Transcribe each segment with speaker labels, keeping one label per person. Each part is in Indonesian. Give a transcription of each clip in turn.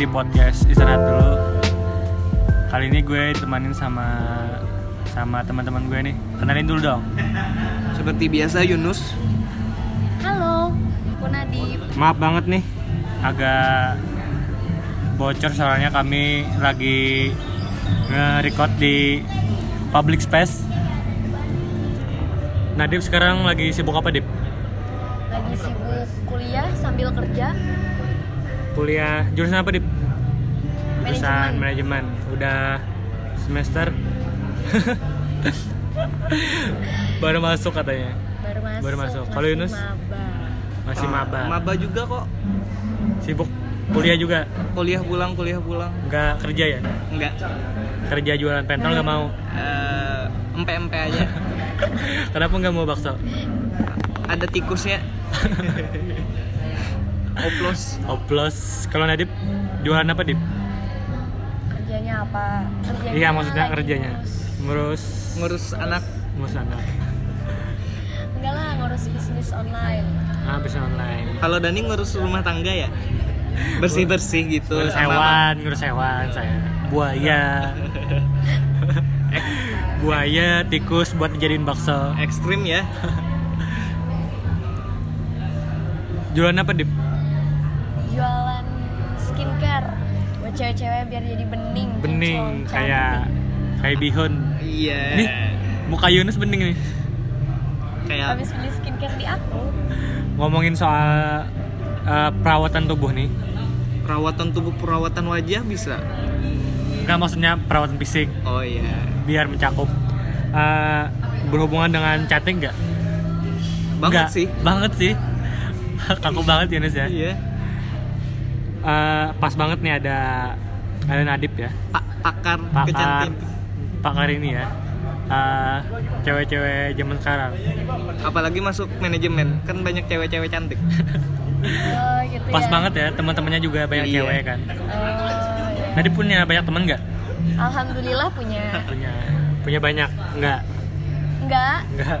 Speaker 1: di podcast istirahat dulu. Kali ini gue temanin sama sama teman-teman gue nih. Kenalin dulu dong.
Speaker 2: Seperti biasa Yunus.
Speaker 3: Halo, Punadi.
Speaker 2: Maaf banget nih.
Speaker 1: Agak bocor soalnya kami lagi nge-record di public space. Nadib sekarang lagi sibuk apa, Dip?
Speaker 3: Lagi sibuk kuliah sambil kerja.
Speaker 1: Kuliah jurusan apa, Dip? Jurusan
Speaker 3: Manajemen.
Speaker 1: manajemen. Udah semester baru masuk katanya.
Speaker 3: Baru masuk.
Speaker 1: Baru masuk.
Speaker 3: masih
Speaker 1: Kalau Yunus?
Speaker 3: maba.
Speaker 1: Masih
Speaker 2: Ah,
Speaker 1: maba.
Speaker 2: Maba juga kok.
Speaker 1: Sibuk kuliah juga.
Speaker 2: Kuliah pulang, kuliah pulang.
Speaker 1: Nggak kerja ya?
Speaker 2: Enggak.
Speaker 1: Kerja jualan pentol nggak mau.
Speaker 2: Eh, empe-empe aja.
Speaker 1: Kenapa nggak mau bakso?
Speaker 2: Ada tikusnya. Oplos.
Speaker 1: Oplos. Kalau Nadib jualan apa, Dip?
Speaker 3: Kerjanya apa? Kerjanya
Speaker 1: Iya, maksudnya
Speaker 3: lagi
Speaker 1: kerjanya.
Speaker 3: ngurus.
Speaker 1: Ngurus
Speaker 2: Ngurus anak.
Speaker 1: ngurus anak.
Speaker 3: Enggak lah, ngurus bisnis online.
Speaker 1: Ah, bisnis online.
Speaker 2: Kalau Dani ngurus rumah tangga ya. Bersih-bersih gitu.
Speaker 1: ngurus
Speaker 2: sama-
Speaker 1: hewan, ngurus hewan saya. Buaya. Buaya, tikus buat dijadiin bakso.
Speaker 2: Ekstrim ya.
Speaker 1: Jualan apa, Dip?
Speaker 3: Jualan skincare buat cewek-cewek biar jadi bening.
Speaker 1: Bening
Speaker 3: kinclong,
Speaker 1: kayak kayak bihun.
Speaker 2: Iya.
Speaker 1: Nih, muka Yunus bening nih.
Speaker 3: cantik.
Speaker 2: Kayak
Speaker 3: Habis beli skincare di aku,
Speaker 1: Ngomongin soal eh, perawatan tubuh nih.
Speaker 2: perawatan tubuh, perawatan wajah bisa.
Speaker 1: Enggak maksudnya perawatan fisik
Speaker 2: Oh iya.
Speaker 1: biar mencakup eh, berhubungan dengan chatting nggak?
Speaker 2: Banget
Speaker 1: Nggak.
Speaker 2: sih.
Speaker 1: Banget sih. Kaku banget Yunus ya.
Speaker 2: Iya.
Speaker 1: Eh, pas banget nih ada ada Nadib ya.
Speaker 2: Pak pakar,
Speaker 1: pakar
Speaker 2: kecantikan.
Speaker 1: pakar ini ya eh, cewek-cewek zaman sekarang
Speaker 2: apalagi masuk manajemen kan banyak cewek-cewek cantik
Speaker 3: Oh, gitu
Speaker 1: pas
Speaker 3: ya.
Speaker 1: banget ya teman-temannya juga banyak
Speaker 2: Iya.
Speaker 1: cewek kan
Speaker 3: Oh, iya.
Speaker 1: Nadi punya banyak teman nggak
Speaker 3: Eh, Alhamdulillah punya.
Speaker 1: punya punya banyak nggak
Speaker 3: Enggak,
Speaker 1: nggak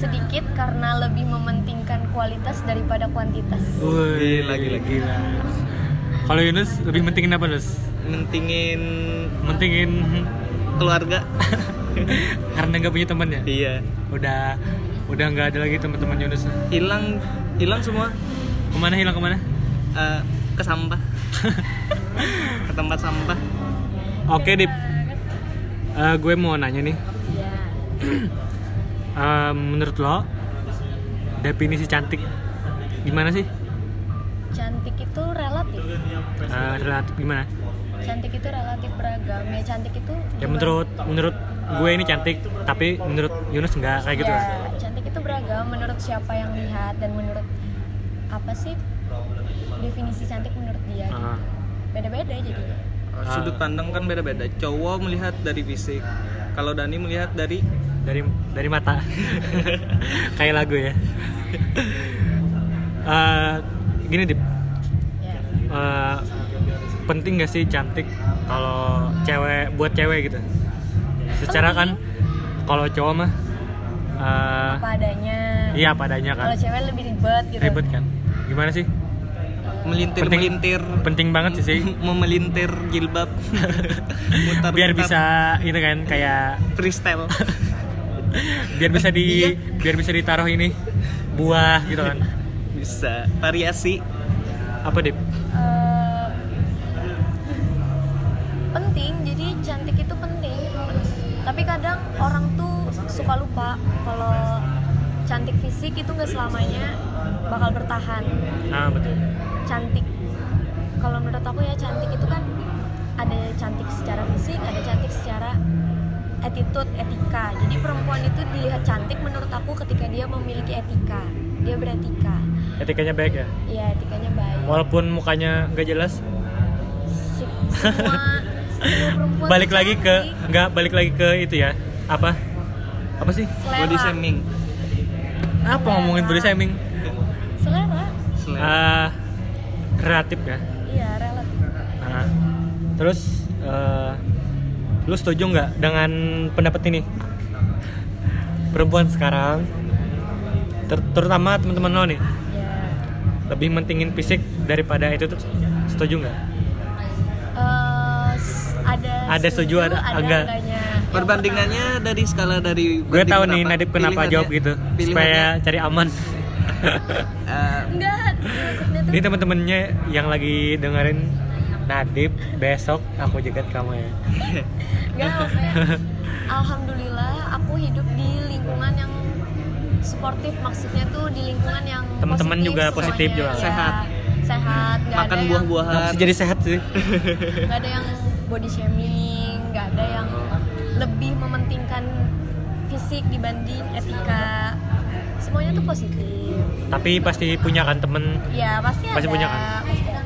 Speaker 3: sedikit karena lebih mementingkan kualitas daripada kuantitas.
Speaker 1: Wih,
Speaker 2: Gila, gila,
Speaker 1: gila kalau Yunus lebih pentingin apa Yunus
Speaker 2: mentingin
Speaker 1: pentingin
Speaker 2: keluarga
Speaker 1: karena nggak punya teman ya
Speaker 2: iya
Speaker 1: udah udah nggak ada lagi teman-teman Yunus
Speaker 2: hilang hilang semua
Speaker 1: kemana hilang kemana
Speaker 2: eh, ke sampah ke tempat sampah
Speaker 1: oke Dip Eh, gue mau nanya nih
Speaker 3: Iya.
Speaker 1: Eh, menurut lo definisi cantik gimana sih
Speaker 3: Cantik itu relatif.
Speaker 1: Eh, relatif gimana
Speaker 3: Cantik itu relatif beragam. Ya cantik itu
Speaker 1: ya
Speaker 3: gimana?
Speaker 1: menurut menurut gue ini cantik tapi menurut Yunus enggak kayak gitu
Speaker 3: Ya,
Speaker 1: kan
Speaker 2: Iya.
Speaker 3: cantik itu beragam menurut siapa yang lihat dan menurut apa sih definisi cantik menurut dia. gitu.
Speaker 1: Ah, Iya,
Speaker 3: Beda-beda jadi.
Speaker 2: sudut pandang kan beda-beda cowok melihat dari fisik kalau Dani melihat dari
Speaker 1: dari dari mata kayak lagu ya Eh, gini dip
Speaker 3: Ya.
Speaker 1: Eh, penting gak sih cantik kalau cewek buat cewek gitu secara kan kalau cowok mah eh,
Speaker 3: Apa adanya.
Speaker 1: iya padanya kan
Speaker 3: Kalau cewek lebih ribet gitu.
Speaker 1: ribet kan gimana sih
Speaker 2: melintir
Speaker 1: Penting-
Speaker 2: melintir
Speaker 1: penting banget sih sih
Speaker 2: memelintir jilbab mutar
Speaker 1: biar bisa itu kan kayak
Speaker 2: freestyle
Speaker 1: biar bisa di
Speaker 2: Iya.
Speaker 1: biar bisa ditaruh ini buah gitu kan
Speaker 2: bisa variasi
Speaker 1: apa dip
Speaker 3: Eh, penting jadi cantik itu penting tapi kadang orang tuh suka lupa kalau cantik fisik itu nggak selamanya bakal bertahan
Speaker 1: ah betul
Speaker 3: cantik kalau menurut aku ya cantik itu kan ada cantik secara fisik ada cantik secara attitude etika jadi perempuan itu dilihat cantik menurut aku ketika dia memiliki etika dia beretika
Speaker 1: etikanya baik ya
Speaker 3: ya etikanya baik
Speaker 1: walaupun mukanya nggak jelas
Speaker 3: Se- semua semua perempuan
Speaker 1: balik lagi ke
Speaker 3: cantik.
Speaker 1: nggak balik lagi ke itu ya apa apa sih
Speaker 3: selera
Speaker 2: body shaming
Speaker 1: apa ngomongin body shaming
Speaker 3: selera
Speaker 2: Selera.
Speaker 1: ah kreatif ya
Speaker 3: iya relatif
Speaker 1: Ah. terus eh, lu setuju nggak dengan pendapat ini perempuan sekarang ter- terutama teman-teman lo nih
Speaker 3: ya
Speaker 1: lebih mentingin fisik daripada itu tuh setuju nggak
Speaker 3: Eh, ada
Speaker 1: Ada setuju, ada enggak.
Speaker 3: enggaknya. Yang
Speaker 2: Perbandingannya dari skala dari
Speaker 1: Gue
Speaker 2: banding
Speaker 1: tahu nih
Speaker 2: berapa?
Speaker 1: Nadif kenapa
Speaker 2: Pilihannya-
Speaker 1: jawab gitu supaya
Speaker 2: pilihannya,
Speaker 1: cari aman.
Speaker 2: eh,
Speaker 3: pertama. enggak maksudnya tuh
Speaker 1: Ini temen-temennya yang lagi dengerin Nadif besok aku jegat kamu ya.
Speaker 3: Enggak, maksudnya Alhamdulillah aku hidup di lingkungan yang sportif Maksudnya tuh di lingkungan yang
Speaker 1: Teman-teman juga positif
Speaker 3: semuanya,
Speaker 1: juga.
Speaker 3: ya.
Speaker 2: Sehat.
Speaker 3: Sehat, nggak
Speaker 2: makan
Speaker 3: ada yang-
Speaker 1: Kenapa
Speaker 2: buah-buahan
Speaker 1: sih jadi sehat sih?
Speaker 3: nggak ada yang body shaming nggak ada yang lebih mementingkan fisik dibanding etika semuanya tuh positif
Speaker 1: Tapi pasti punya kan temen.
Speaker 3: ya pasti
Speaker 1: Pasti
Speaker 3: ada
Speaker 1: punya kan?
Speaker 3: pasti ada.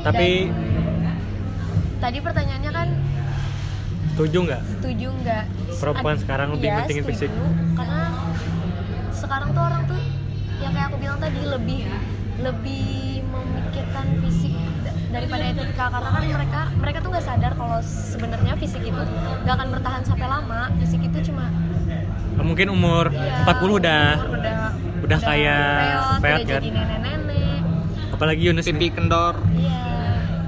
Speaker 1: Tapi
Speaker 3: Dan tadi pertanyaannya kan
Speaker 1: setuju nggak?
Speaker 3: setuju nggak
Speaker 1: Perempuan
Speaker 3: Ad-
Speaker 1: sekarang lebih
Speaker 3: Iya,
Speaker 1: mentingin
Speaker 3: setuju.
Speaker 1: fisik.
Speaker 3: karena sekarang tuh orang tuh yang kayak aku bilang tadi lebih lebih memikirkan fisik da- daripada etika karena kan mereka mereka tuh nggak sadar kalau sebenarnya fisik itu nggak akan bertahan sampai lama fisik itu cuma
Speaker 1: Mungkin umur
Speaker 3: ya,
Speaker 1: 40 udah
Speaker 3: umur udah
Speaker 1: udah kayak peot
Speaker 3: peot
Speaker 1: kan?
Speaker 3: jadi nenek-nenek
Speaker 1: apalagi Yunus
Speaker 2: pipi
Speaker 1: nih.
Speaker 2: kendor
Speaker 3: iya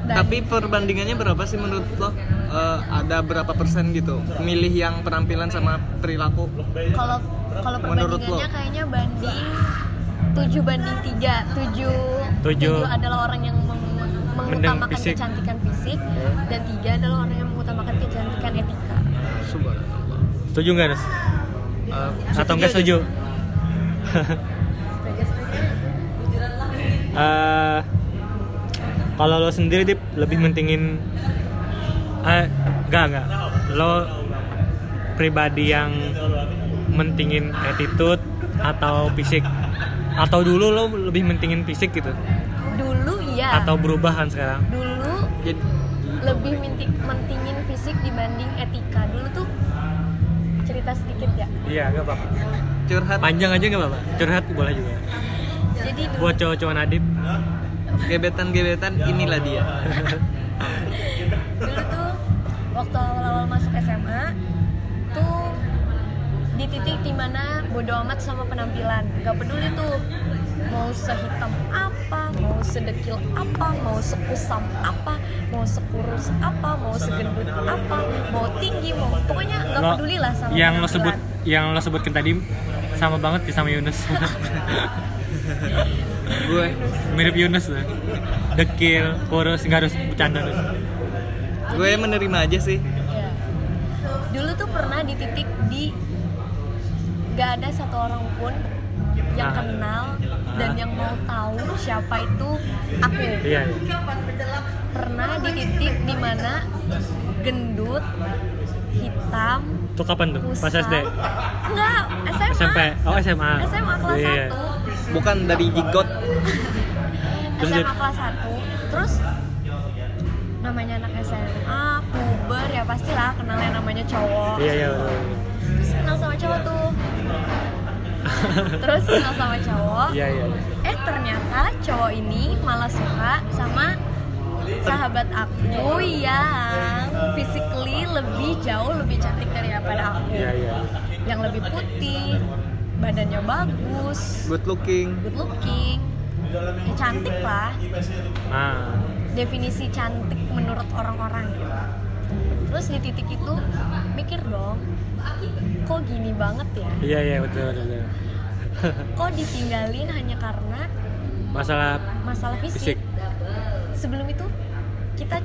Speaker 3: Dan-
Speaker 2: tapi perbandingannya berapa sih menurut lo Eh, ada berapa persen gitu milih yang penampilan sama perilaku
Speaker 3: kalau kalau
Speaker 2: Menurut
Speaker 3: perbandingannya
Speaker 2: lo?
Speaker 3: kayaknya banding 7 banding 3 7
Speaker 1: Tujuh.
Speaker 3: adalah orang yang meng- mengutamakan
Speaker 1: fisik.
Speaker 3: kecantikan fisik dan tiga adalah orang yang mengutamakan kecantikan etika
Speaker 2: Subhanallah.
Speaker 1: Setuju nggak Yunus?
Speaker 2: Eh,
Speaker 1: Atau nggak
Speaker 2: aja.
Speaker 1: setuju? Eh, kalau lo sendiri Dip, lebih mentingin eh enggak enggak lo pribadi yang mentingin attitude atau fisik atau dulu lo lebih mentingin fisik gitu
Speaker 3: dulu iya
Speaker 1: atau berubahan sekarang
Speaker 3: dulu
Speaker 2: Jadi-
Speaker 3: lebih minti, mentingin fisik dibanding etika dulu tuh cerita sedikit ya
Speaker 1: iya nggak apa-apa
Speaker 2: curhat
Speaker 1: panjang aja nggak apa-apa curhat boleh juga
Speaker 3: jadi dulu
Speaker 1: buat cowok-cowok Nadib
Speaker 2: gebetan-gebetan inilah dia
Speaker 3: dulu tuh waktu awal-awal masuk SMA tuh di titik dimana bodo amat sama penampilan gak peduli tuh mau sehitam apa mau sedekil apa mau sekusam apa mau sekurus apa mau segendut apa mau tinggi mau pokoknya gak
Speaker 1: Lo-
Speaker 3: peduli lah sama
Speaker 1: yang lo
Speaker 3: penampilan.
Speaker 1: sebut yang lo sebutkan tadi sama banget sih sama Yunus
Speaker 2: gue
Speaker 1: mirip Yunus tuh dekil kurus nggak harus bercanda Yunus.
Speaker 2: gue menerima aja sih
Speaker 3: Iya. dulu tuh pernah di titik di gak ada satu orang pun
Speaker 1: Ah.
Speaker 3: yang kenal dan
Speaker 1: Ah.
Speaker 3: yang mau tahu siapa itu aku
Speaker 1: iya iya.
Speaker 3: pernah di titik dimana gendut hitam
Speaker 1: itu kapan tuh
Speaker 3: kusam
Speaker 1: pas SD
Speaker 3: enggak SMA
Speaker 1: SMP oh SMA
Speaker 3: SMA kelas
Speaker 1: Iya, iya.
Speaker 3: 1
Speaker 2: bukan dari jigot
Speaker 1: Terus
Speaker 3: SMA
Speaker 1: dia-
Speaker 3: kelas 1 terus namanya anak SMA puber ya pastilah kenal yang namanya cowok
Speaker 1: iya iya betul, betul.
Speaker 3: terus kenal sama cowok
Speaker 1: Iya.
Speaker 3: tuh terus kenal sama cowok
Speaker 1: iya iya iya.
Speaker 3: eh ternyata cowok ini malah suka sama sahabat aku
Speaker 1: Iya.
Speaker 3: yang physically lebih jauh lebih cantik daripada aku
Speaker 1: iya iya
Speaker 3: yang lebih putih badannya bagus
Speaker 2: good looking
Speaker 3: good looking ya cantik lah
Speaker 1: nah
Speaker 3: definisi cantik menurut orang-orang gitu terus di titik itu mikir dong kok gini banget ya
Speaker 1: iya iya betul betul, betul.
Speaker 3: kok ditinggalin hanya karena
Speaker 1: masalah
Speaker 3: masalah fisik,
Speaker 1: fisik
Speaker 3: sebelum itu kita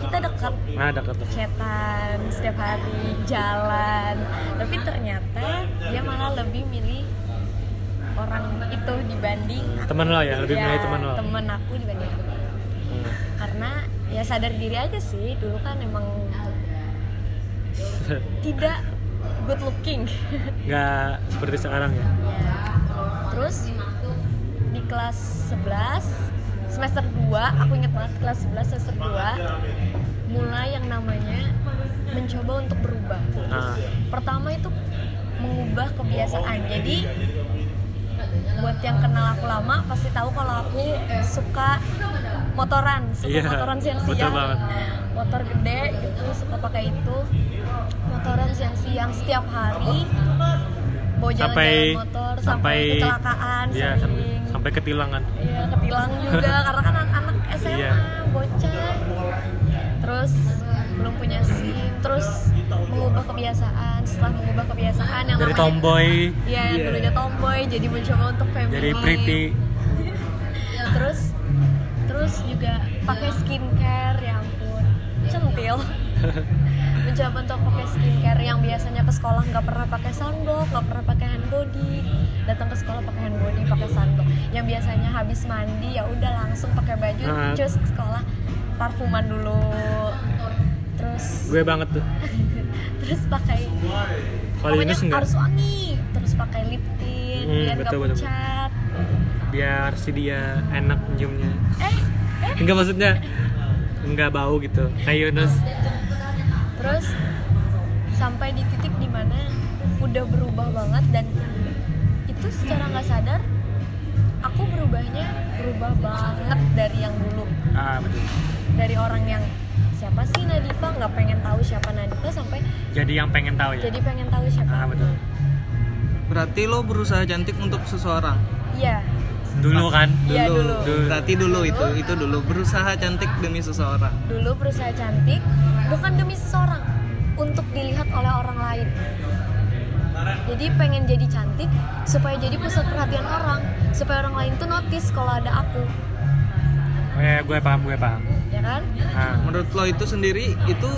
Speaker 3: kita dekat
Speaker 1: nah dekat tuh
Speaker 3: chatan setiap hari jalan tapi ternyata dia malah lebih milih orang itu dibanding
Speaker 1: Temen lo ya, lebih milih temen lo.
Speaker 3: Iya,
Speaker 1: Hmm.
Speaker 3: temen aku dibanding aku karena ya sadar diri aja sih dulu kan emang tidak good looking
Speaker 1: nggak seperti sekarang
Speaker 3: Iya,
Speaker 1: ya
Speaker 3: Terus di kelas 11 semester 2, aku ingat banget kelas 11 semester 2 mulai yang namanya mencoba untuk berubah.
Speaker 1: nah
Speaker 3: Pertama itu mengubah kebiasaan. Jadi buat yang kenal aku lama pasti tahu kalau aku suka motoran, suka
Speaker 1: Iya,
Speaker 3: motoran
Speaker 1: betul
Speaker 3: siang-siang.
Speaker 1: banget.
Speaker 3: Motor gede gitu, suka pakai itu. Motoran siang-siang setiap hari. Bawa
Speaker 1: sampai
Speaker 3: jalan-jalan motor sampai, kecelakaan
Speaker 1: iya, sampai,
Speaker 3: sering.
Speaker 1: sampai ketilangan
Speaker 3: kan Iya, ketilang juga karena kan anak-anak SMA
Speaker 1: Iya.
Speaker 3: bocah. Terus terus belum punya sim terus mengubah kebiasaan setelah mengubah kebiasaan yang
Speaker 1: dari
Speaker 3: namanya-
Speaker 1: tomboy
Speaker 3: Iya, yang
Speaker 2: Iya.
Speaker 3: dulunya tomboy jadi mencoba untuk feminine.
Speaker 1: jadi pretty
Speaker 3: Iya, Terus terus juga pakai skincare, ya ampun. Centil. mencoba untuk pakai skincare yang biasanya ke sekolah nggak pernah pakai sunblock, nggak pernah pakai hand body. Datang ke sekolah pakai hand body, pakai sunblock. Yang biasanya habis mandi ya udah langsung pakai baju
Speaker 1: Nah.
Speaker 3: cus ke sekolah parfuman dulu. Terus
Speaker 1: gue banget tuh
Speaker 3: terus pakai
Speaker 1: Kalau
Speaker 3: pokoknya
Speaker 1: Yunus enggak?
Speaker 3: harus wangi terus pakai lip tint
Speaker 1: Hmm,
Speaker 3: biar nggak
Speaker 1: betul, betul, betul.
Speaker 3: pucat
Speaker 1: biar si dia enak nyiumnya
Speaker 3: eh
Speaker 1: enggak maksudnya enggak bau gitu kayak Yunus
Speaker 3: terus sampai di titik dimana udah berubah banget dan itu secara nggak sadar aku berubahnya berubah banget dari yang dulu
Speaker 1: ah betul
Speaker 3: dari orang yang siapa sih Nadifa nggak pengen tahu siapa Nadifa sampai
Speaker 1: jadi yang pengen tahu ya
Speaker 3: jadi pengen tahu siapa
Speaker 1: Oh ah betul
Speaker 2: Berarti lo berusaha cantik untuk seseorang.
Speaker 3: iya
Speaker 1: dulu kan
Speaker 3: Iya, dulu.
Speaker 1: Dulu.
Speaker 2: Berarti dulu itu itu dulu berusaha cantik demi seseorang.
Speaker 3: dulu berusaha cantik bukan demi seseorang untuk dilihat oleh orang lain jadi pengen jadi cantik supaya jadi pusat perhatian orang supaya orang lain tuh notice kalau ada aku
Speaker 1: eh gue paham gue paham
Speaker 3: ya kan
Speaker 1: ah
Speaker 2: Menurut lo itu sendiri itu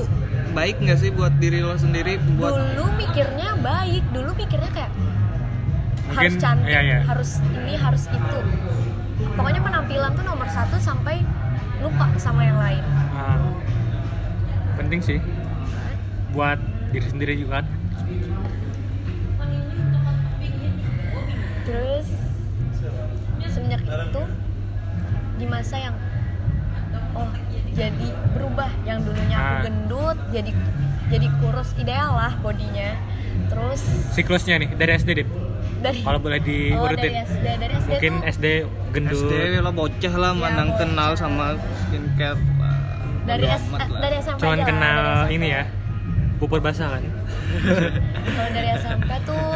Speaker 2: baik nggak sih buat diri lo sendiri buat
Speaker 3: dulu mikirnya baik dulu mikirnya kayak harus
Speaker 1: Mungkin,
Speaker 3: cantik
Speaker 1: iya, iya.
Speaker 3: harus ini harus itu pokoknya penampilan tuh nomor satu sampai lupa sama yang lain
Speaker 1: ah. penting sih buat diri sendiri juga kan
Speaker 3: Terus semenjak itu di masa yang oh jadi berubah yang dulunya aku
Speaker 1: Ah.
Speaker 3: gendut jadi jadi kurus ideal lah bodinya. Terus
Speaker 1: siklusnya nih dari SD deh
Speaker 3: dari
Speaker 1: kalau boleh
Speaker 3: oh, dari
Speaker 1: diurutin
Speaker 3: SD dari SD
Speaker 1: mungkin
Speaker 3: tuh
Speaker 1: SD gendut
Speaker 2: SD lo bocah lah
Speaker 3: Iya,
Speaker 2: mandang
Speaker 3: bocah.
Speaker 2: kenal sama skincare. lah.
Speaker 3: dari
Speaker 2: Bodo
Speaker 3: S-
Speaker 2: amat lah.
Speaker 3: dari SMP
Speaker 1: cuman
Speaker 3: aja lah,
Speaker 1: kenal
Speaker 3: dari SMP.
Speaker 1: ini ya bubur basah kan
Speaker 3: Kalau Oh, dari SMP tuh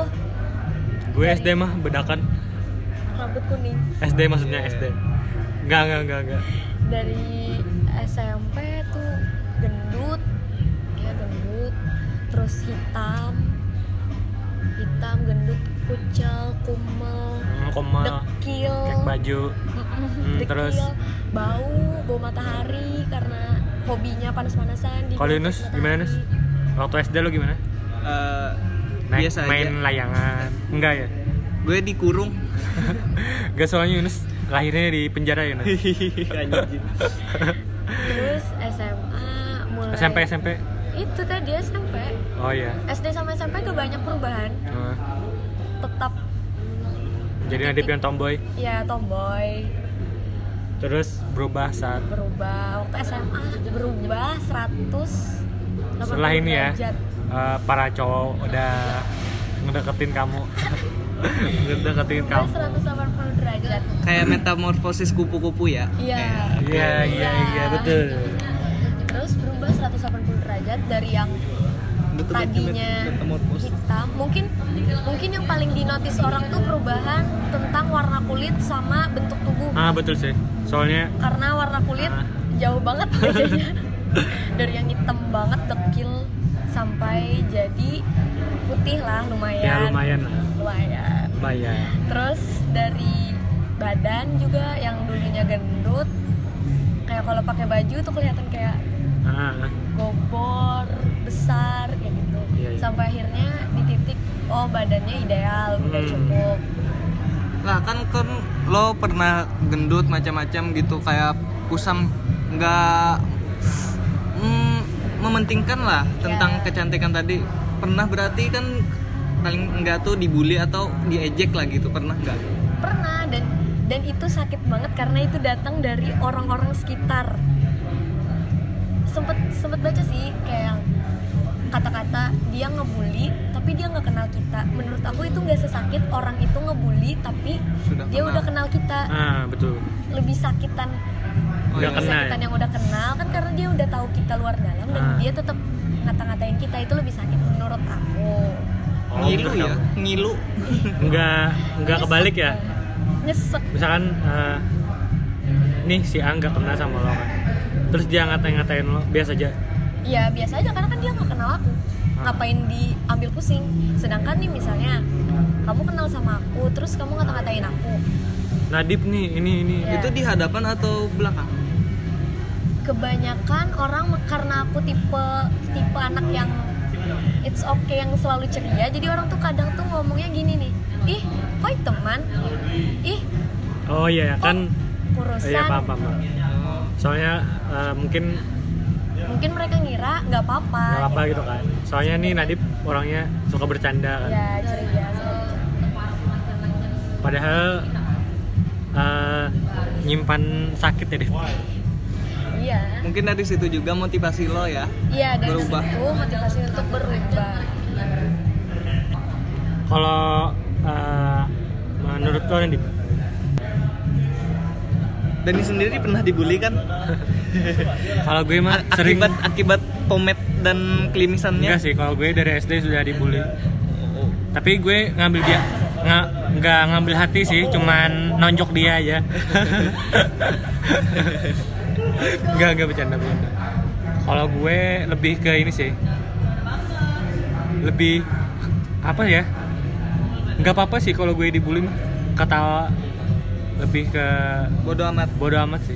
Speaker 1: gue
Speaker 3: Dari-
Speaker 1: SD mah bedakan
Speaker 3: rambut kuning.
Speaker 1: SD maksudnya SD enggak enggak enggak enggak
Speaker 3: dari SMP tuh gendut ya gendut terus hitam hitam gendut kucel kumel
Speaker 1: Hmm, koma
Speaker 3: dekil
Speaker 1: kayak baju
Speaker 3: Mm-mm, dekil
Speaker 1: terus?
Speaker 3: bau bau matahari karena hobinya panas-panasan di
Speaker 1: Kalau
Speaker 3: bawah
Speaker 1: Yunus
Speaker 3: matahari.
Speaker 1: gimana Yunus? Waktu SD lo gimana?
Speaker 2: Eh,
Speaker 1: Naik,
Speaker 2: biasa
Speaker 1: main
Speaker 2: aja.
Speaker 1: layangan? Enggak ya?
Speaker 2: Gue dikurung.
Speaker 1: Enggak soalnya Yunus lahirnya di penjara ya Yunus?
Speaker 2: Anjing.
Speaker 3: terus SMA mulai
Speaker 1: SMP SMP?
Speaker 3: itu tadi SMP
Speaker 1: Oh iya
Speaker 3: SD sama SMP gak banyak perubahan
Speaker 1: Heeh.
Speaker 3: tetap
Speaker 1: Jadi Nadif yang tomboy
Speaker 3: ya tomboy
Speaker 1: Terus berubah saat
Speaker 3: berubah waktu SMA berubah 100
Speaker 1: Setelah ini ya
Speaker 3: derajat.
Speaker 1: eh, Para cowok udah ngedeketin kamu Ngedeketin
Speaker 3: berubah
Speaker 1: kamu
Speaker 3: 180 derajat
Speaker 2: Kayak metamorfosis kupu-kupu ya.
Speaker 3: iya
Speaker 1: Iya iya iya betul
Speaker 3: terus berubah 180 derajat dari yang
Speaker 2: Betul,
Speaker 3: tadinya
Speaker 2: met- metamorfosis.
Speaker 3: hitam mungkin mungkin yang paling dinotis orang tuh perubahan tentang warna kulit sama bentuk tubuh
Speaker 1: Ah betul sih Soalnya
Speaker 3: karena warna kulit
Speaker 1: Ah.
Speaker 3: jauh banget bedanya dari yang hitam banget dekil sampai jadi putih lah
Speaker 1: ya lumayan lah
Speaker 3: lumayan
Speaker 1: Lumayan
Speaker 3: Terus dari badan juga yang dulunya gendut kayak kalau pakai baju tuh kelihatan kayak
Speaker 1: Ah,
Speaker 3: gobor, besar kayak gitu.
Speaker 1: Iya, iya.
Speaker 3: Sampai akhirnya di titik oh badannya ideal, udah
Speaker 1: Hmm.
Speaker 3: cukup.
Speaker 2: Lah kan kan lo pernah gendut macam-macam gitu kayak kusam nggak mm, mementingkan lah tentang
Speaker 3: Ya.
Speaker 2: kecantikan tadi. Pernah berarti kan paling enggak tuh dibully atau diejek lah gitu pernah nggak?
Speaker 3: Pernah dan dan itu sakit banget karena itu datang dari orang-orang sekitar. Sempet sempet baca sih kayak yang kata-kata dia ngebully tapi dia nggak kenal kita. Menurut aku itu nggak sesakit orang itu ngebully tapi
Speaker 2: Sudah
Speaker 3: dia
Speaker 2: kenal.
Speaker 3: udah kenal kita.
Speaker 1: ah betul
Speaker 3: lebih sakitan
Speaker 2: Oh,
Speaker 1: Udah
Speaker 2: iya.
Speaker 3: lebih
Speaker 1: kenal.
Speaker 3: sakitan yang udah kenal kan karena dia udah tahu kita luar dalam dan
Speaker 1: Ah.
Speaker 3: dia tetap ngata-ngatain kita itu lebih sakit menurut aku
Speaker 1: Oh,
Speaker 2: Ngilu
Speaker 1: menurut
Speaker 2: ya,
Speaker 1: kamu.
Speaker 2: ngilu.
Speaker 3: Iya.
Speaker 1: Enggak enggak
Speaker 3: Nyesek
Speaker 1: kebalik ya.
Speaker 3: dong. nyesek
Speaker 1: Misalkan eh, nih si A enggak kenal sama lo kan. terus dia ngata-ngatain lo biasa aja
Speaker 3: ya biasa aja karena kan dia nggak kenal aku ngapain diambil pusing sedangkan nih misalnya kamu kenal sama aku terus kamu ngata-ngatain aku
Speaker 1: Nadib nih ini ini
Speaker 3: Iya.
Speaker 2: Itu di hadapan atau belakang?
Speaker 3: kebanyakan orang karena aku tipe tipe anak yang it's okay yang selalu ceria jadi orang tuh kadang tuh ngomongnya gini nih ih koi teman ih
Speaker 1: oh iya
Speaker 3: kok
Speaker 1: kan
Speaker 3: kurusan
Speaker 1: iya paham paham, paham. soalnya eh, mungkin
Speaker 3: mungkin mereka ngira nggak apa-apa
Speaker 1: nggak apa gitu kan soalnya nih Nadib orangnya suka bercanda kan
Speaker 3: ya ceria selalu ceria.
Speaker 1: padahal eh, nyimpan sakit ya deh
Speaker 3: iya
Speaker 2: Mungkin dari situ juga motivasi lo ya.
Speaker 3: iya dari
Speaker 2: Berubah.
Speaker 3: situ motivasi untuk berubah
Speaker 1: kalau eh, menurut lo Nadib
Speaker 2: Dani sendiri pernah dibully kan?
Speaker 1: kalau gue mah
Speaker 2: A-
Speaker 1: sering
Speaker 2: Akibat akibat pomade dan kelimisannya.
Speaker 1: enggak sih kalau gue dari SD sudah dibully tapi gue ngambil dia nggak nggak ngambil hati sih cuman nonjok dia aja nggak nggak bercanda bercanda kalau gue lebih ke ini sih lebih apa ya nggak apa apa sih kalau gue dibully mah kata lebih ke
Speaker 2: Bodoh amat.
Speaker 1: bodo amat sih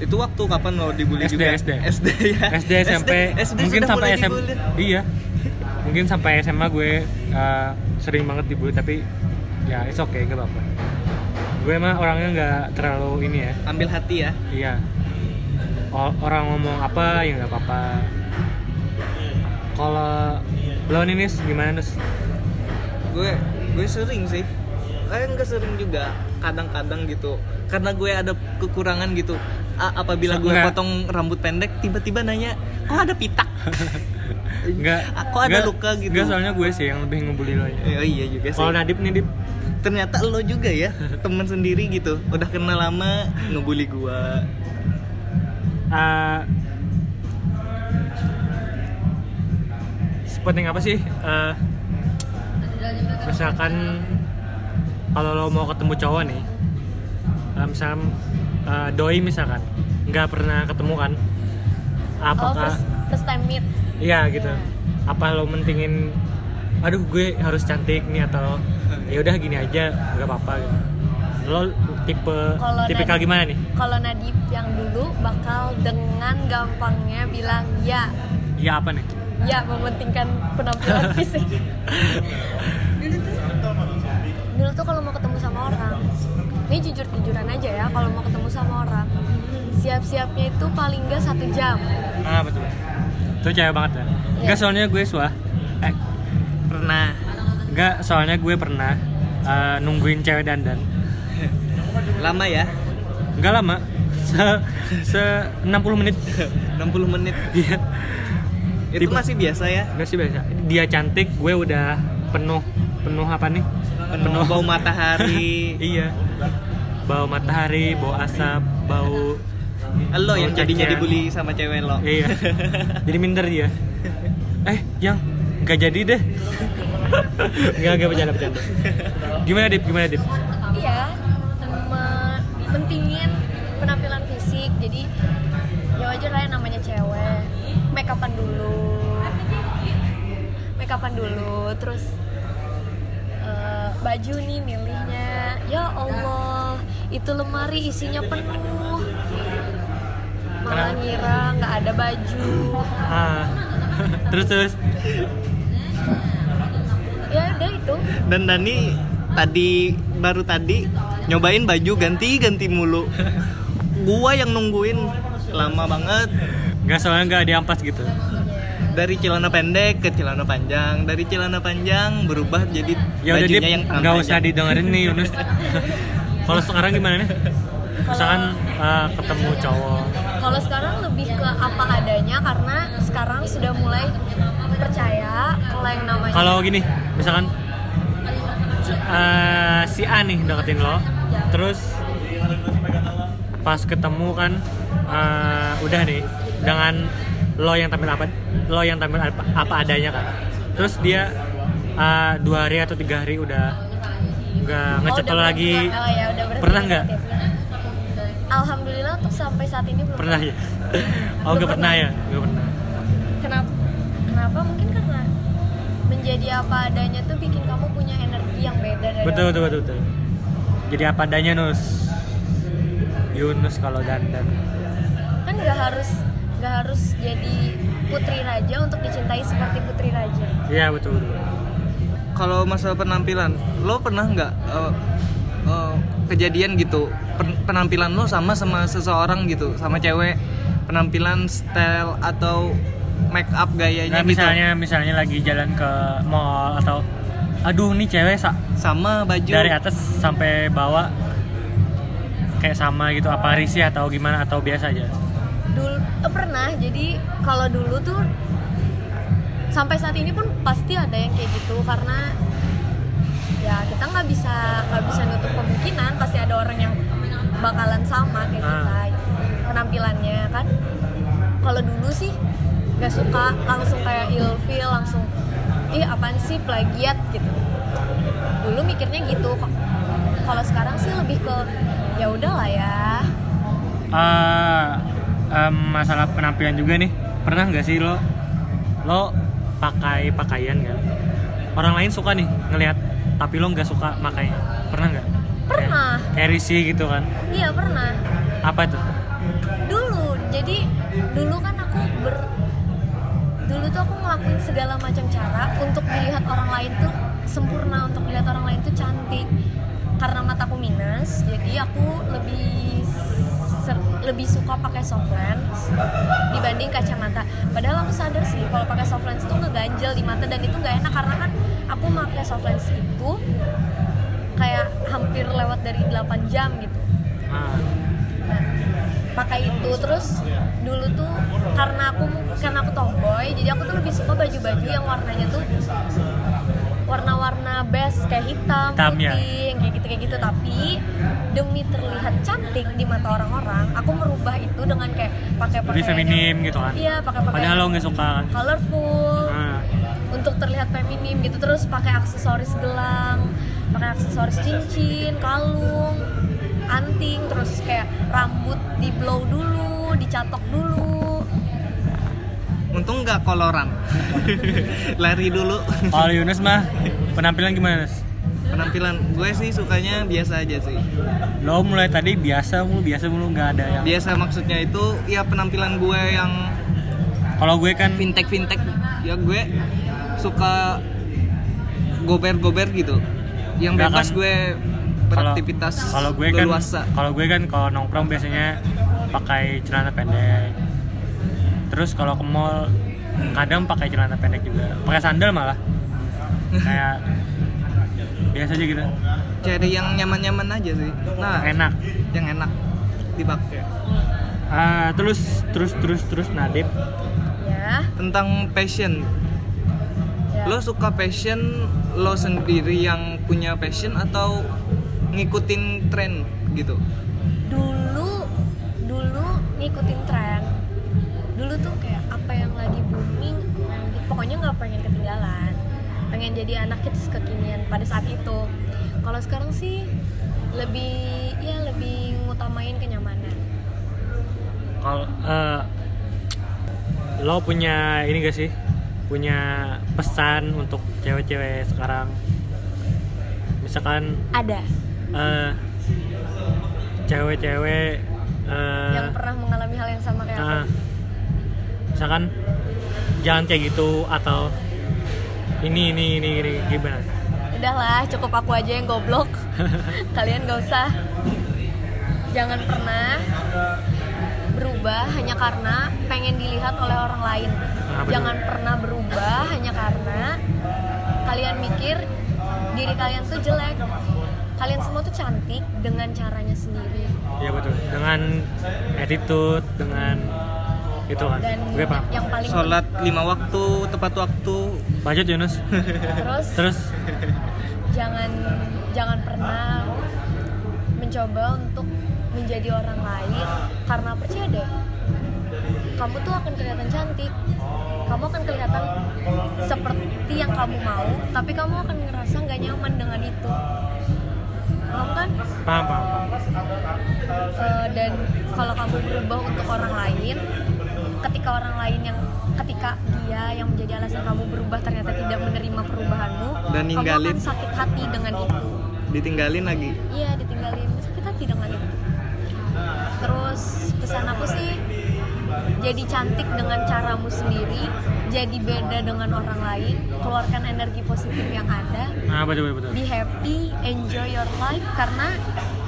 Speaker 2: Itu waktu kapan lo dibully
Speaker 1: SD,
Speaker 2: juga?
Speaker 1: SD.
Speaker 2: SD ya.
Speaker 1: SD SMP mungkin
Speaker 2: sudah
Speaker 1: sampai
Speaker 2: mulai
Speaker 1: SM
Speaker 2: dibully.
Speaker 1: iya mungkin sampai SMA gue uh, sering banget dibully tapi ya it's okay gak apa-apa gue mah orangnya nggak terlalu ini ya
Speaker 2: Ambil hati ya.
Speaker 1: iya O- orang ngomong apa ya nggak apa-apa kalau lo nih Nis, gimana Nis?
Speaker 2: gue gue sering sih eh nggak sering juga kadang-kadang gitu karena gue ada kekurangan gitu A- apabila gue
Speaker 1: Nggak.
Speaker 2: potong rambut pendek tiba-tiba nanya kok ada pitak
Speaker 1: Nggak,
Speaker 2: Aku ada
Speaker 1: nggak-
Speaker 2: luka gitu.
Speaker 1: nggak, soalnya gue sih yang lebih ngebully lo
Speaker 2: Eh, oh iya juga sih
Speaker 1: kalau Nadib nih Dip
Speaker 2: ternyata lo juga ya teman sendiri gitu udah kenal lama ngebully gue
Speaker 1: uh, sepenting apa sih uh, misalkan kalau lo mau ketemu cowok nih uh, misal uh, doi misalkan nggak pernah ketemu kan
Speaker 3: oh
Speaker 1: apakah
Speaker 3: first, first time meet
Speaker 1: iya gitu
Speaker 3: Iya.
Speaker 1: apa lo mentingin aduh gue harus cantik nih atau ya udah gini aja nggak apa-apa gitu lo tipe
Speaker 3: Kalau
Speaker 1: tipikal
Speaker 3: dari-
Speaker 1: gimana nih
Speaker 3: kalau Nadib yang dulu bakal dengan gampangnya bilang ya
Speaker 1: ya apa nih
Speaker 3: ya mementingkan penampilan fisik dulu tuh dulu tuh kalau mau ketemu sama orang ini jujur jujuran aja ya kalau mau ketemu sama orang siap-siapnya itu paling nggak satu jam
Speaker 1: Ah betul. Itu cewek banget ya. Enggak soalnya gue suah. Eh,
Speaker 2: pernah
Speaker 1: enggak soalnya gue pernah eh, nungguin cewek dandan.
Speaker 2: lama ya
Speaker 1: Enggak lama. Se, se 60 menit.
Speaker 2: 60 menit
Speaker 1: Iya.
Speaker 2: itu
Speaker 1: Tiba-
Speaker 2: masih biasa ya
Speaker 1: Enggak sih biasa. Dia cantik, gue udah penuh penuh apa nih?
Speaker 2: penuh bau matahari
Speaker 1: iya. Bau matahari, bau asap, bau
Speaker 2: lo yang
Speaker 1: Bau
Speaker 2: jadinya
Speaker 1: cacian.
Speaker 2: dibully sama cewek
Speaker 1: Oh,
Speaker 2: lo
Speaker 1: iya. Jadi minder dia. Eh, yang nggak jadi deh. Enggak, enggak bercanda, bercanda. Gimana, Dip? Gimana, Dip?
Speaker 3: iya me- mentingin penampilan fisik jadi ya wajar lah yang namanya cewek make upan dulu make upan dulu terus eh, baju nih milihnya ya Allah itu lemari isinya penuh malah
Speaker 1: Kenapa?
Speaker 3: ngira nggak ada baju
Speaker 1: Ah. terus terus
Speaker 3: ya udah itu
Speaker 2: Dan Dani tadi baru tadi nyobain baju ganti-ganti mulu. Gua yang nungguin lama banget
Speaker 1: nggak soalnya nggak diampas gitu
Speaker 2: dari celana pendek ke celana panjang, dari celana panjang berubah jadi
Speaker 1: ya udah
Speaker 2: bajunya
Speaker 1: dip
Speaker 2: yang tangan
Speaker 1: nggak usah
Speaker 2: panjang.
Speaker 1: didengerin nih Yunus kalau sekarang gimana nih misalkan eh, ketemu cowok
Speaker 3: Kalau sekarang lebih ke apa adanya karena sekarang sudah mulai percaya kalau yang namanya
Speaker 1: kalau gini misalkan eh, si A nih deketin lo terus pas ketemu kan eh, udah nih dengan lo yang tampil apa lo yang tampil apa, apa adanya kan terus dia eh, dua hari atau tiga hari udah nggak
Speaker 3: Oh,
Speaker 1: ngechat
Speaker 3: udah
Speaker 1: lo lagi
Speaker 3: berhenti- oh, ya, udah berhenti
Speaker 1: Pernah nggak?
Speaker 3: deketin. alhamdulillah untuk sampai saat ini belum
Speaker 1: pernah ya oh nggak pernah ya nggak pernah
Speaker 3: kenapa kenapa mungkin karena menjadi apa adanya tuh bikin kamu punya energi yang beda dari
Speaker 1: betul
Speaker 3: orang
Speaker 1: betul betul, betul. jadi apa adanya nus Yunus kalau dandan
Speaker 3: kan nggak harus nggak harus jadi putri raja untuk dicintai seperti putri raja
Speaker 1: iya betul betul
Speaker 2: kalau masalah penampilan lo pernah nggak eh, eh, kejadian gitu per- penampilan lo sama sama seseorang gitu sama cewek penampilan style atau make up
Speaker 1: nah,
Speaker 2: gayanya gitu
Speaker 1: misalnya misalnya lagi jalan ke mall atau aduh nih cewek sa-
Speaker 2: sama baju
Speaker 1: dari atas sampai bawah kayak sama gitu apa risih atau gimana atau biasa aja
Speaker 3: dulu eh, pernah jadi kalau dulu tuh sampai saat ini pun pasti ada yang kayak gitu karena ya kita nggak bisa nggak bisa nutup kemungkinan pasti ada orang yang bakalan sama kayak
Speaker 1: Ah.
Speaker 3: kita penampilannya kan kalau dulu sih nggak suka langsung kayak ilfil langsung ih apaan sih plagiat gitu dulu mikirnya gitu kok kalau sekarang sih lebih ke ya udahlah ya
Speaker 1: Eh, em, masalah penampilan juga nih pernah nggak sih lo lo pakai pakaian nggak orang lain suka nih ngelihat tapi lo nggak suka makainya pernah nggak
Speaker 3: Pernah.
Speaker 1: kayak, kayak risih gitu kan
Speaker 3: iya pernah
Speaker 1: apa itu
Speaker 3: dulu jadi dulu kan aku ber dulu tuh aku ngelakuin segala macam cara untuk dilihat orang lain tuh sempurna untuk dilihat orang lain tuh cantik karena mataku minus jadi aku lebih ser- lebih suka pakai soft lens dibanding kacamata padahal aku sadar sih kalau pakai soft lens tuh ngeganjel di mata dan itu nggak enak karena kan aku pakai soft lens itu kayak hampir lewat dari 8 jam gitu
Speaker 1: Ah,
Speaker 3: Nah, pakai itu terus dulu tuh karena aku karena aku tomboy jadi aku tuh lebih suka baju-baju yang warnanya tuh warna-warna best kayak hitam,
Speaker 1: Hitam,
Speaker 3: putih,
Speaker 1: ya.
Speaker 3: yang kayak gitu kayak gitu tapi demi terlihat cantik di mata orang-orang aku merubah itu dengan kayak pakai
Speaker 1: lebih
Speaker 3: pakaian
Speaker 1: feminim gitu kan
Speaker 3: yang- iya pakai pakaian
Speaker 1: padahal lo nggak suka kan
Speaker 3: colorful
Speaker 1: Ah,
Speaker 3: untuk terlihat feminim gitu terus pakai aksesoris gelang pakai aksesoris cincin kalung anting terus kayak rambut di blow dulu dicatok dulu
Speaker 2: untung nggak koloran lari dulu
Speaker 1: kalau Yunus mah penampilan gimana Yunus?
Speaker 2: penampilan gue sih sukanya biasa aja sih
Speaker 1: lo mulai tadi biasa mulu biasa mulu nggak ada yang
Speaker 2: biasa maksudnya itu ya penampilan gue yang
Speaker 1: kalau gue kan
Speaker 2: fintech fintech ya gue suka gober gober gitu yang
Speaker 1: Nggak
Speaker 2: bebas
Speaker 1: kan.
Speaker 2: gue
Speaker 1: kalau-
Speaker 2: beraktivitas
Speaker 1: kalau gue kan
Speaker 2: leluasa.
Speaker 1: kalau gue kan kalau nongkrong biasanya pakai celana pendek terus kalau ke mall kadang pakai celana pendek juga pakai sandal malah kayak biasa aja gitu
Speaker 2: cari yang nyaman nyaman aja sih nah
Speaker 1: enak
Speaker 2: yang enak dipakai
Speaker 1: Ah, terus terus terus terus Nadib
Speaker 3: ya,
Speaker 2: tentang passion
Speaker 3: ya.
Speaker 2: lo suka passion lo sendiri yang punya passion atau ngikutin tren gitu
Speaker 3: dulu dulu ngikutin tren dulu tuh kayak apa yang lagi booming apa yang lagi- pokoknya nggak pengen ketinggalan pengen jadi anak kids kekinian pada saat itu kalau sekarang sih lebih ya lebih ngutamain kenyamanan
Speaker 1: kalau eh, lo punya ini gak sih punya pesan untuk cewek-cewek sekarang misalkan
Speaker 3: ada
Speaker 1: eh cewek-cewek eh,
Speaker 3: yang pernah ya? mengalami hal yang sama kayak aku.
Speaker 1: eh, misalkan jangan kayak gitu atau ini ini ini, ini gimana
Speaker 3: udahlah cukup aku aja yang goblok kalian gak usah jangan pernah berubah hanya karena pengen dilihat oleh orang lain
Speaker 1: Ah, betul.
Speaker 3: jangan pernah berubah hanya karena kalian mikir diri kalian tuh jelek kalian semua tuh cantik dengan caranya sendiri
Speaker 1: ya betul dengan attitude dengan itu kan
Speaker 3: dan
Speaker 1: gue paham
Speaker 3: yang paling
Speaker 2: sholat lima waktu tepat waktu
Speaker 1: lanjut Yunus
Speaker 3: terus
Speaker 1: terus
Speaker 3: jangan jangan pernah mencoba untuk menjadi orang lain karena percaya deh kamu tuh akan kelihatan cantik kamu akan kelihatan seperti yang kamu mau tapi kamu akan ngerasa nggak nyaman dengan itu paham kan
Speaker 1: paham paham, paham.
Speaker 3: Eh, dan kalau kamu berubah untuk orang lain ketika orang lain yang ketika dia yang menjadi alasan kamu berubah ternyata tidak menerima perubahanmu
Speaker 2: Dan
Speaker 3: kamu
Speaker 2: ninggalin.
Speaker 3: akan sakit hati dengan itu
Speaker 2: ditinggalin lagi
Speaker 3: iya ditinggalin sakit hati dengan itu terus pesan aku sih jadi cantik dengan caramu sendiri jadi beda dengan orang lain keluarkan energi positif yang ada
Speaker 1: Nah, betul betul. betul.
Speaker 3: be happy, enjoy your life karena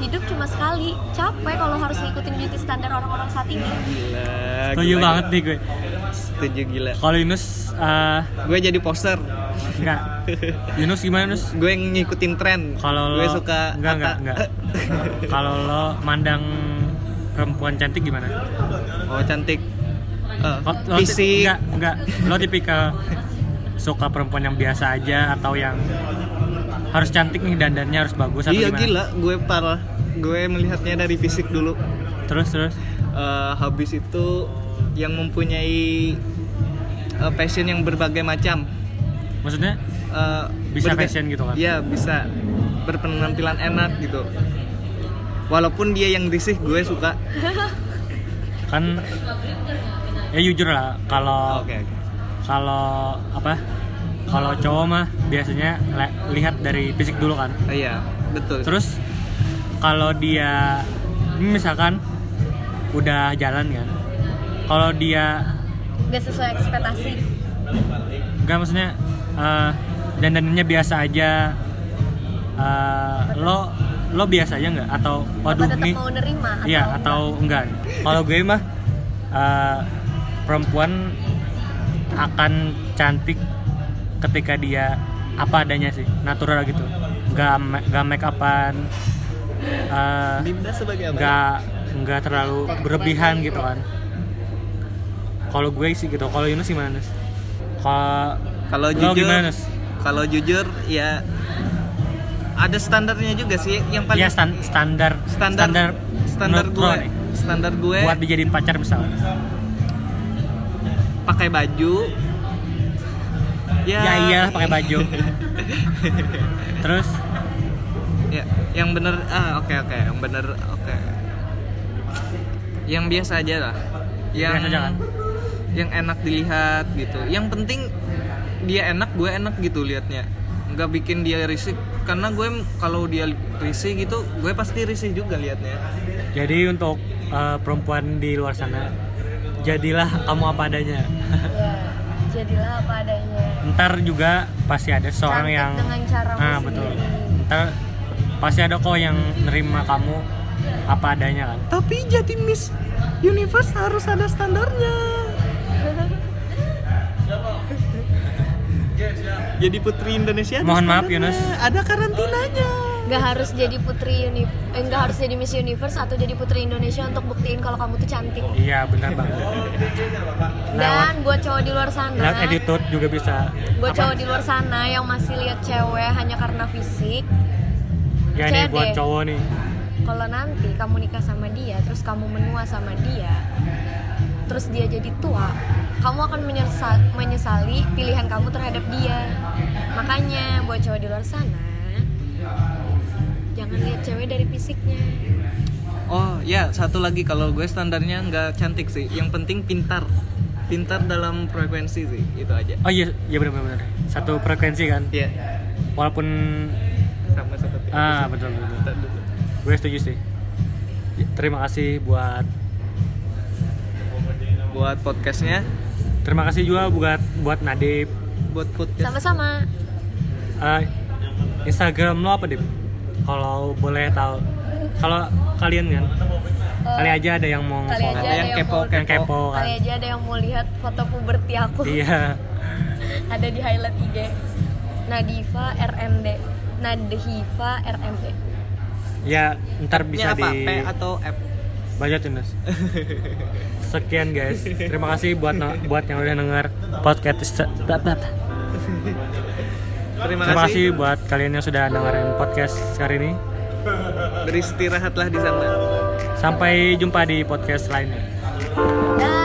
Speaker 3: hidup cuma sekali. Capek kalau harus ngikutin beauty standar orang-orang saat ini.
Speaker 2: gila
Speaker 1: Setuju
Speaker 2: gila,
Speaker 1: banget
Speaker 2: gila.
Speaker 1: nih gue.
Speaker 2: setuju gila
Speaker 1: Kalau Yunus eh,
Speaker 2: gue jadi poster
Speaker 1: enggak. Yunus gimana Yunus?
Speaker 2: gue ngikutin tren
Speaker 1: Kalau
Speaker 2: gue
Speaker 1: lo-
Speaker 2: suka "Eh."
Speaker 1: enggak,
Speaker 2: Atta.
Speaker 1: enggak, enggak. Kalau lo mandang perempuan cantik gimana?
Speaker 2: oh cantik Eh,
Speaker 1: Lo- lo ti-
Speaker 2: fisik
Speaker 1: Oh, enggak, enggak. Lo tipikal suka perempuan yang biasa aja atau yang harus cantik nih dandannya harus bagus atau
Speaker 2: iya
Speaker 1: gimana?
Speaker 2: gila gue parah gue melihatnya dari fisik dulu
Speaker 1: Terus terus.
Speaker 2: Eh, habis itu yang mempunyai eh, passion yang berbagai macam
Speaker 1: Maksudnya
Speaker 2: Eh,
Speaker 1: Bisa
Speaker 2: berbe-
Speaker 1: fashion gitu kan?
Speaker 2: iya bisa berpenampilan enak gitu walaupun dia yang risih gue suka
Speaker 1: kan ya jujur lah kalau
Speaker 2: oke oke.
Speaker 1: kalau apa kalau cowok mah biasanya le- lihat dari fisik dulu kan
Speaker 2: Eh, iya betul
Speaker 1: terus kalau dia ini misalkan udah jalan kan kalau dia
Speaker 3: Gak sesuai ekspektasi.
Speaker 1: nggak maksudnya eh dandanannya biasa aja eh, lo lo biasa aja nggak atau
Speaker 3: Apa
Speaker 1: waduh
Speaker 3: tetap
Speaker 1: nih
Speaker 3: mau nerima? atau
Speaker 1: Iya atau enggak? Kalau gue mah eh, perempuan akan cantik ketika dia apa adanya sih, natural gitu. Enggak enggak make upan, eh,
Speaker 2: Dinda sebagai apa
Speaker 1: enggak enggak terlalu berlebihan gitu kan. Kalau gue sih gitu. Kalau Yunus gimana? Nus? Kalau
Speaker 2: kalau
Speaker 1: lo
Speaker 2: jujur
Speaker 1: gimana, Nus?
Speaker 2: kalau jujur ya ada standarnya juga sih yang paling
Speaker 1: ya stan- standar
Speaker 2: standar standar, standar
Speaker 1: menurut lo
Speaker 2: gue
Speaker 1: nih,
Speaker 2: standar gue
Speaker 1: buat dijadiin pacar misalnya.
Speaker 2: pakai baju
Speaker 1: Ya iyalah pakai baju. Terus
Speaker 2: Ya, yang bener ah oke oke, yang bener oke. Yang biasa aja lah. Yang
Speaker 1: Biasa aja kan?
Speaker 2: Yang enak dilihat gitu. Yang penting dia enak, gue enak gitu liatnya. Nggak bikin dia risih karena gue kalau dia risih gitu, gue pasti risih juga liatnya.
Speaker 1: Jadi untuk uh, perempuan di luar sana, jadilah kamu apa adanya.
Speaker 3: Ya, jadilah apa adanya.
Speaker 1: Ntar juga pasti ada seorang
Speaker 3: Cantik
Speaker 1: yang
Speaker 3: dengan caramu
Speaker 1: Ah,
Speaker 3: sendiri.
Speaker 1: betul. Ntar pasti ada kok yang nerima kamu apa adanya kan.
Speaker 2: Tapi jadi Miss Universe harus ada standarnya. Jadi putri Indonesia ada
Speaker 1: Mohon maaf, Yunus.
Speaker 2: standarnya. Ada karantinanya.
Speaker 3: Gak harus jadi putri uni, eh, nggak harus jadi Miss Universe atau jadi putri Indonesia untuk buktiin kalau kamu tuh cantik.
Speaker 1: Iya benar banget. Lewat,
Speaker 3: Dan buat cowok di luar sana,
Speaker 1: lewat attitude juga bisa.
Speaker 3: buat
Speaker 1: Apa?
Speaker 3: cowok di luar sana yang masih lihat cewek hanya karena fisik,
Speaker 1: Ya nih
Speaker 3: CD.
Speaker 1: buat cowok nih.
Speaker 3: kalau nanti kamu nikah sama dia terus kamu menua sama dia terus dia jadi tua kamu akan menyesa- menyesali pilihan kamu terhadap dia makanya buat cowok di luar sana jangan lihat cewek dari fisiknya
Speaker 2: Oh ya satu lagi kalau gue standarnya nggak cantik sih, yang penting pintar, pintar dalam frekuensi sih itu aja.
Speaker 1: Oh iya, iya benar-benar. Satu frekuensi kan.
Speaker 2: Ya
Speaker 1: Walaupun
Speaker 2: sama seperti.
Speaker 1: ah betul betul.
Speaker 2: Bentar dulu.
Speaker 1: Gue setuju sih. Ya, Terima kasih buat
Speaker 2: Buat podcastnya,
Speaker 1: Terima kasih juga buat buat Nadib.
Speaker 2: buat podcast
Speaker 3: sama-sama
Speaker 1: Eh, Instagram lo apa Dib? Kalau boleh tahu. Kalau kalian kan, kali aja ada yang mau
Speaker 3: kali
Speaker 1: nge-follow.
Speaker 3: aja
Speaker 2: yang
Speaker 3: ada yang
Speaker 2: kepo
Speaker 3: mau-
Speaker 1: yang
Speaker 2: kepo.
Speaker 1: kepo kan.
Speaker 3: kali aja ada yang mau lihat foto puberti aku
Speaker 1: Iya.
Speaker 3: ada di highlight IG Nadiva RMD Nadhiva RMD
Speaker 1: Ya, ntar
Speaker 2: Ini
Speaker 1: bisa
Speaker 2: apa?
Speaker 1: di
Speaker 2: P atau F?
Speaker 1: baca Tunas. Sekian guys. Terima kasih buat no- buat yang udah denger podcast.
Speaker 2: Terima,
Speaker 1: Terima
Speaker 2: kasih.
Speaker 1: kasih buat kalian yang sudah dengerin podcast hari ini.
Speaker 2: Beristirahatlah di sana.
Speaker 1: Sampai jumpa di podcast lainnya.
Speaker 3: Dah.